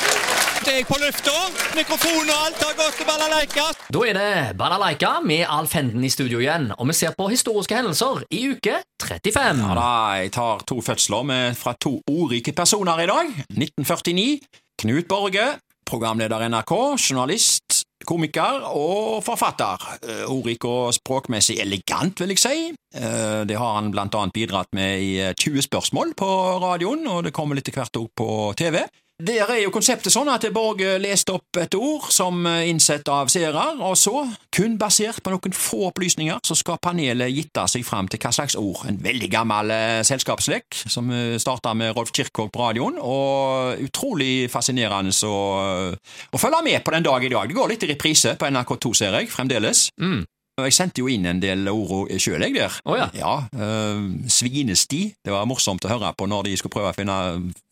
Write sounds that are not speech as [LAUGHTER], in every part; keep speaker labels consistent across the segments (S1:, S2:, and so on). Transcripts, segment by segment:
S1: Først er jeg på lufta. Mikrofon og alt har gått til balalaika.
S2: Da er det Balalaika med Alf Henden i studio igjen, og vi ser på historiske hendelser i uke 35.
S1: Ja da, jeg tar to fødsler med, fra to ordrike personer i dag. 1949, Knut Borge, programleder i NRK, journalist, komiker og forfatter. Eh, Ordrik og språkmessig elegant, vil jeg si. Eh, Det har han blant annet bidratt med i eh, 20 spørsmål på radioen, og det kommer litt til hvert òg på TV. Der er jo konseptet sånn at Borge leste opp et ord som eh, innsett av seere, og så, kun basert på noen få opplysninger, så skal panelet gitte seg fram til hva slags ord. En veldig gammel eh, selskapslek som starta med Rolf Kirkvaag på radioen, og utrolig fascinerende så, eh, å følge med på den dag i dag. Det går litt i reprise på NRK2, ser jeg, fremdeles.
S2: Mm.
S1: Og Jeg sendte jo inn en del ord sjøl, jeg, der.
S2: Å ja.
S1: Ja, eh, Svinesti. Det var morsomt å høre på når de skulle prøve å finne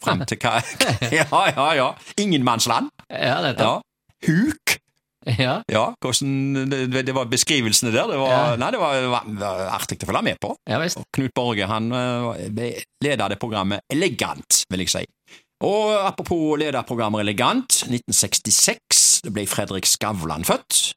S1: fram til hva [LAUGHS] Ja, ja, ja. Ingenmannsland.
S2: Ja, dette.
S1: Ja. Huk.
S2: Ja.
S1: Ja, hvordan Det, det var beskrivelsene der. Det var,
S2: Ja.
S1: Nei, det var, det var, det var artig å følge med på.
S2: ja visst.
S1: Knut Borge han leda det programmet elegant, vil jeg si. Og apropos lede programmer elegant, 1966 det ble Fredrik Skavlan født,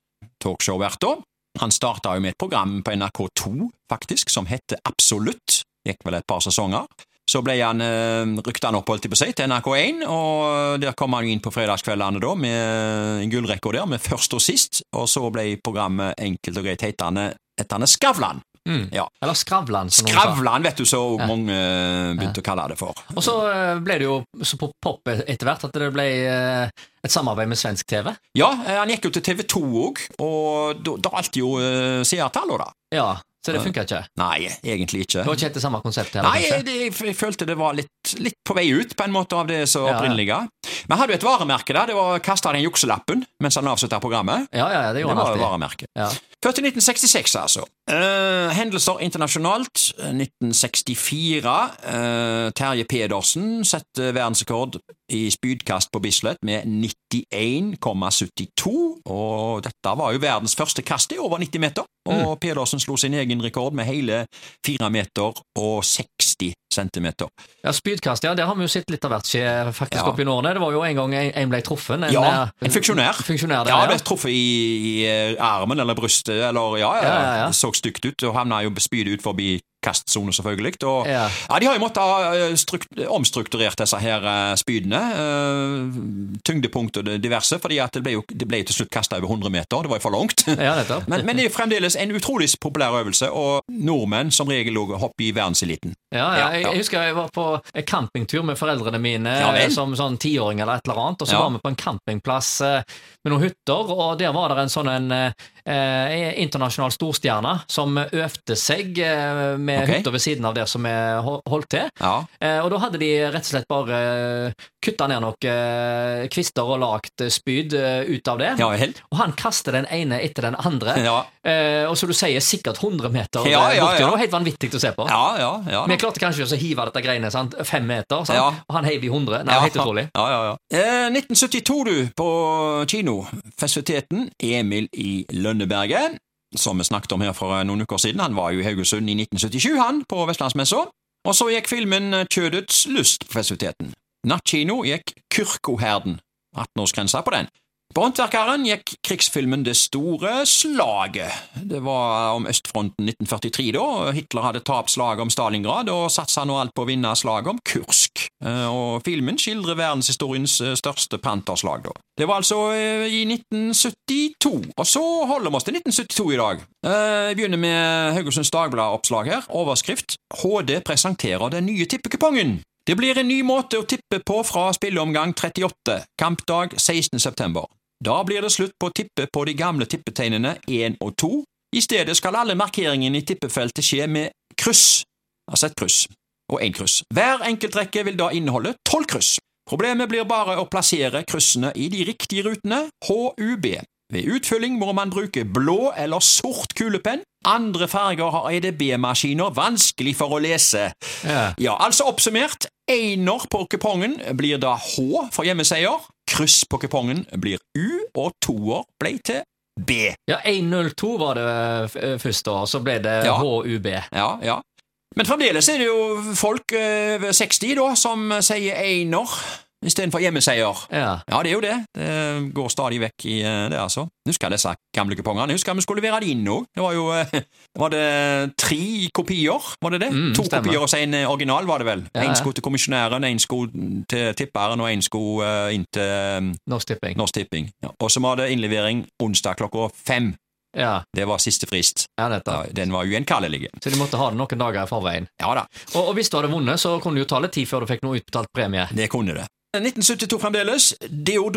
S1: talkshow-verta. Han starta jo med et program på NRK2, faktisk, som het Absolutt. Gikk vel et par sesonger. Så ble han, eh, rykte han opp holdt jeg på å si, til NRK1, og der kom han jo inn på fredagskveldene da, med en gullrekke der, med først og sist, og så ble programmet enkelt og greit hetende hetende Skavlan.
S2: Mm.
S1: Ja.
S2: Eller Skravlan, som noen sa.
S1: Skravlan, vet du, så mange eh, begynte å kalle det for.
S2: Og så eh, ble det jo så på pop etter hvert at det ble eh, et samarbeid med svensk TV.
S1: Ja, eh, han gikk jo til TV 2 òg, og da dalte jo eh, seertallene, da.
S2: Ja, så det funka ikke.
S1: Nei, egentlig ikke.
S2: Det var ikke etter samme konsept heller,
S1: Nei, jeg,
S2: kanskje.
S1: jeg, jeg følte det var litt, litt på vei ut, på en måte, av det som
S2: Ja, ja.
S1: opprinnelige. Men hadde jo et varemerke der. Det var kasta den jukselappen mens han avslutta programmet.
S2: Ja, ja, ja, det
S1: Det
S2: gjorde han
S1: var jo
S2: alltid.
S1: varemerket.
S2: Ja.
S1: Født i 1966, altså. Eh, hendelser internasjonalt. 1964. eh, Terje Pedersen setter verdensrekord i spydkast på Bislett med 91,72. Og dette var jo verdens første kast i over 90 meter. Og Pedersen slo sin egen rekord med hele 4 meter og 60 centimeter.
S2: ja, Spydkast, ja, der har vi jo sett litt av hvert skje faktisk
S1: Ja.
S2: opp i årene. Det var jo en gang en, en ble truffet. En,
S1: Ja,
S2: eh,
S1: en funksjonær.
S2: funksjonær der,
S1: Ja, det er truffet i, i eh, armen eller brystet, eller ja, ja,
S2: Ja, ja, ja.
S1: det så stygt ut, og havna jo spydet ut forbi kastsonen, selvfølgelig. Og, ja.
S2: Ja.
S1: de har jo måttet ha eh, strukt- omstrukturert disse her eh, spydene, eh, tyngdepunkt og det diverse, fordi at det ble jo det ble jo til slutt kasta over 100 meter, det var jo for [LAUGHS] langt.
S2: Ja, nettopp.
S1: Men, men det er jo fremdeles en utrolig populær øvelse, og nordmenn som regel også hopper i verdenseliten.
S2: Ja, ja.
S1: Ja,
S2: Jeg,
S1: ja.
S2: jeg husker jeg var på en campingtur med foreldrene mine
S1: Ja vel.
S2: eh, som sånn tiåring eller et eller annet, og så
S1: Ja.
S2: var vi på en campingplass eh, med noen hytter, og der var det en sånn en eh, eh, internasjonal storstjerne som øvde seg eh, med
S1: Ok.
S2: hytter ved siden av der som vi ho- holdt til.
S1: Ja.
S2: Eh, og da hadde de rett og slett bare eh, kutta ned noen eh, kvister og lagd eh, spyd eh, ut av det.
S1: Ja vel.
S2: Og han kaster den ene etter den andre,
S1: Ja,
S2: eh, og som du sier, sikkert 100 meter eh,
S1: Ja, ja,
S2: borti.
S1: ja.
S2: Det var helt vanvittig å se på.
S1: ja, ja. ja
S2: Vi klarte kanskje ikke å hive dette greiene sant? fem meter, sant?
S1: Ja.
S2: og han heiv i 100. Nei,
S1: Ja.
S2: helt utrolig.
S1: Ja, ja, ja. Eh, 1972, du, på kino. Festiviteten Emil i Lønneberget, som vi snakket om her for eh, noen uker siden. Han var jo i Haugesund i 1977, han, på Vestlandsmessa. Og så gikk filmen eh, Kjødets lyst på festiviteten. Nattkino gikk Kyrkoherden. 18-årsgrensa på den. På Håndverkeren gikk krigsfilmen Det store slaget. Det var om østfronten 1943, da. Hitler hadde tapt slaget om Stalingrad og satsa nå alt på å vinne slaget om Kursk. Eh, Og filmen skildrer verdenshistoriens eh, største panterslag, da. Det var altså eh, i 1972. Og så holder vi oss til 1972 i dag. Eh, Jeg begynner med Haugesunds Dagblad-oppslag her. Overskrift HD presenterer den nye tippekupongen. Det blir en ny måte å tippe på fra spilleomgang 38, kampdag 16. september. Da blir det slutt på å tippe på de gamle tippetegnene 1 og 2. I stedet skal alle markeringene i tippefeltet skje med kryss, altså et kryss, og én kryss. Hver enkeltrekke vil da inneholde tolv kryss. Problemet blir bare å plassere kryssene i de riktige rutene, HUB. Ved utfylling må man bruke blå eller sort kulepenn. Andre farger har EDB-maskiner vanskelig for å lese.
S2: Ja.
S1: Ja, altså oppsummert. Einer på kupongen blir da H for hjemmeseier. Kryss på kupongen blir U, og toer ble til B.
S2: Ja, 102 var det eh, først, da, og så ble det
S1: Ja.
S2: HUB.
S1: Ja, ja. Men fremdeles er det jo folk eh, over 60 da som sier einer. istedenfor hjemmeseier.
S2: Ja.
S1: Ja, det er jo det. Det går stadig vekk i eh, det, altså. Husker disse gamle kupongene. Husker vi skulle levere de inn òg. Det var jo eh, [LAUGHS] Var det tre kopier? Var det det?
S2: Mm,
S1: to
S2: stemmer.
S1: kopier og så en eh, original, var det vel.
S2: Ja, ja.
S1: Én skulle til kommisjonæren, én skulle til tipperen, og én skulle eh, inn til eh,
S2: Norsk Tipping.
S1: Norsk Tipping. Ja. Og så var det innlevering onsdag klokka fem.
S2: Ja,
S1: Det var siste frist.
S2: ja dette.
S1: Ja, den var ugjenkallelig.
S2: Så de måtte ha det noen dager i forveien.
S1: Ja da,
S2: Og, og hvis du hadde vunnet, så kunne det jo ta litt tid før du fikk noe utbetalt premie.
S1: det kunne det. 1972 fremdeles.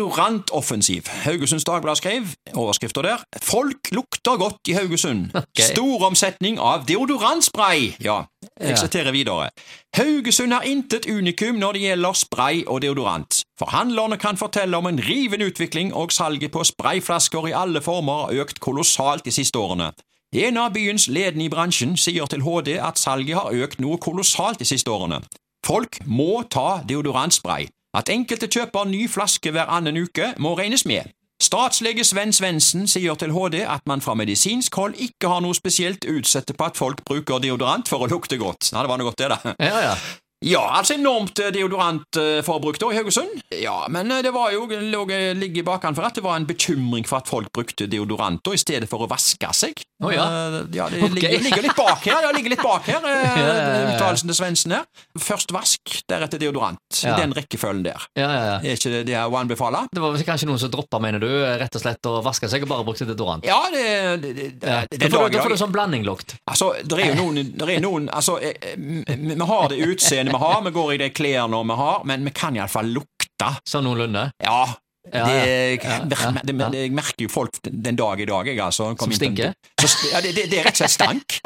S1: Deodorantoffensiv. Haugesunds Dagblad skrev overskrifta der. Folk lukter godt i Haugesund. Stor omsetning av deodorantspray. Ja, jeg
S2: Ja.
S1: siterer videre. Haugesund har intet unikum når det gjelder spray og deodorant. Forhandlerne kan fortelle om en rivende utvikling, og salget på sprayflasker i alle former har økt kolossalt de siste årene. En av byens ledende i bransjen sier til HD at salget har økt noe kolossalt de siste årene. Folk må ta deodorantspray. At enkelte kjøper ny flaske hver annen uke, må regnes med. Statslege Sven Svendsen sier til HD at man fra medisinsk hold ikke har noe spesielt å utsette på at folk bruker deodorant for å lukte godt. Ja, det var noe godt, det, da.
S2: Ja, ja.
S1: Ja, altså enormt eh, deodorantforbruk da i Haugesund. Ja, men eh, det var jo lå, ligge i bakan for at det var en bekymring for at folk brukte deodorant da, i stedet for å vaske seg.
S2: Å ja.
S1: Eh, ja, det
S2: Ok.
S1: ligger, ligger litt bak her, ja, det ligger litt bak her,
S2: [LAUGHS]
S1: eh,
S2: Ja, ja, ja.
S1: uttalelsen til Svendsen her. Først vask, deretter deodorant.
S2: Ja.
S1: I den rekkefølgen der.
S2: ja, ja, ja.
S1: Er ikke det det hun anbefaler?
S2: Det var vel kanskje noen som droppa, mener du, rett og slett å vaske seg og bare brukte deodorant?
S1: Ja, det, det, det, det,
S2: Ja.
S1: det,
S2: Da får du-
S1: lager
S2: da
S1: jeg-
S2: får du sånn blandinglukt.
S1: Altså, det er jo noen, der er noen altså, eh, eh, Vi vi har det utseendet vi har, vi går i de klærne vi har, men vi kan iallfall lukte.
S2: Sånn noenlunde.
S1: [LAUGHS] Ja,
S2: Ja,
S1: det,
S2: ja.
S1: jeg mer-
S2: ja,
S1: det-
S2: ja.
S1: det- Jeg merker jo folk den dag i dag, jeg, altså.
S2: Som
S1: kom inn på en-
S2: stinker?
S1: Så st- Ja, det, det, det er rett og slett stank.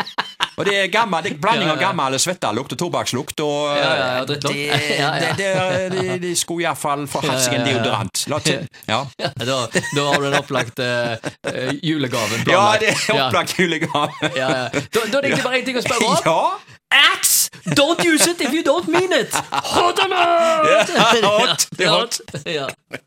S1: Og det er, gammel, det er blanding
S2: Ja,
S1: av
S2: ja.
S1: gammel svettelukt og tobakkslukt, og
S2: Ja, ja, ja,
S1: det,
S2: drittlukt. [LAUGHS] Ja, ja.
S1: det, det, det, De skulle iallfall få hatt seg
S2: Ja,
S1: en
S2: ja, ja.
S1: deodorant. La til. Ja.
S2: Ja, da, da har du den opplagt eh, eh, julegaven.
S1: ja,
S2: planlagt.
S1: det er opplagt julegave.
S2: Ja, ja, ja. Da, da er det egentlig bare én ting å spørre om.
S1: Ja,
S2: Axe! Don't use it if you don't mean it! Hot or not!
S1: [LAUGHS] Ja, hot, det er hot.
S2: Ja.